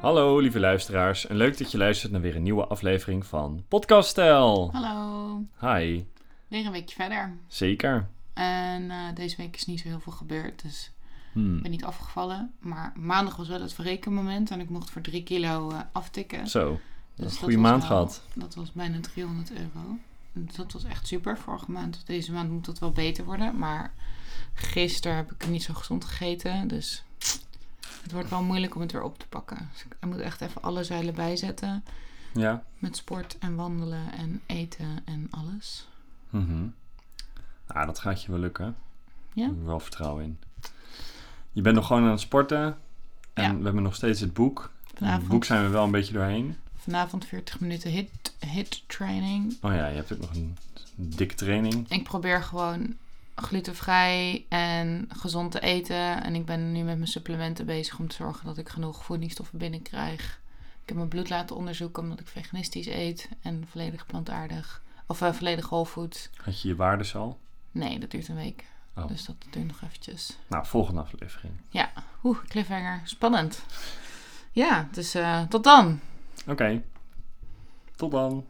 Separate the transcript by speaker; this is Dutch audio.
Speaker 1: Hallo lieve luisteraars en leuk dat je luistert naar weer een nieuwe aflevering van Podcast Stijl.
Speaker 2: Hallo,
Speaker 1: Hi,
Speaker 2: weer een weekje verder.
Speaker 1: zeker.
Speaker 2: En eh, deze week is niet zo heel veel gebeurd, dus ik
Speaker 1: Hmm.
Speaker 2: ben niet afgevallen. Maar maandag was wel het verrekenmoment en ik mocht voor 3 kilo eh, aftikken. Dus
Speaker 1: Zo, een goede
Speaker 2: was
Speaker 1: maand
Speaker 2: wel-
Speaker 1: gehad.
Speaker 2: Dat was bijna 300 euro. Dat was echt super. Vorige maand, deze maand moet dat wel beter worden. Maar gisteren heb ik niet zo gezond gegeten, dus het wordt wel moeilijk om het weer op te pakken. Dus ik moet echt even alle zeilen bijzetten.
Speaker 1: Ja.
Speaker 2: Met sport en wandelen en eten en alles.
Speaker 1: Mhm. Ah, dat gaat je wel lukken. Daar
Speaker 2: Ja?
Speaker 1: heb ik wel vertrouwen in. Je bent nog gewoon aan het sporten en
Speaker 2: Ja.
Speaker 1: we hebben nog steeds het boek. En het
Speaker 2: Vanavond.
Speaker 1: boek zijn we wel een beetje doorheen.
Speaker 2: Vanavond 40 minuten hit, hit training.
Speaker 1: Oh ja, je hebt ook nog een dikke training.
Speaker 2: Ik probeer gewoon glutenvrij en gezond te eten. En ik ben nu met mijn supplementen bezig om te zorgen dat ik genoeg voedingsstoffen binnenkrijg. Ik heb mijn bloed laten onderzoeken omdat ik veganistisch eet en volledig plantaardig. Of eh, volledig whole food.
Speaker 1: Had je je waardes al?
Speaker 2: Nee, dat duurt een week.
Speaker 1: Oh.
Speaker 2: Dus dat duurt nog eventjes.
Speaker 1: Nou, volgende aflevering.
Speaker 2: Oeh, cliffhanger. Spannend. Ja, dus eh, tot dan.
Speaker 1: Oké, tot dan.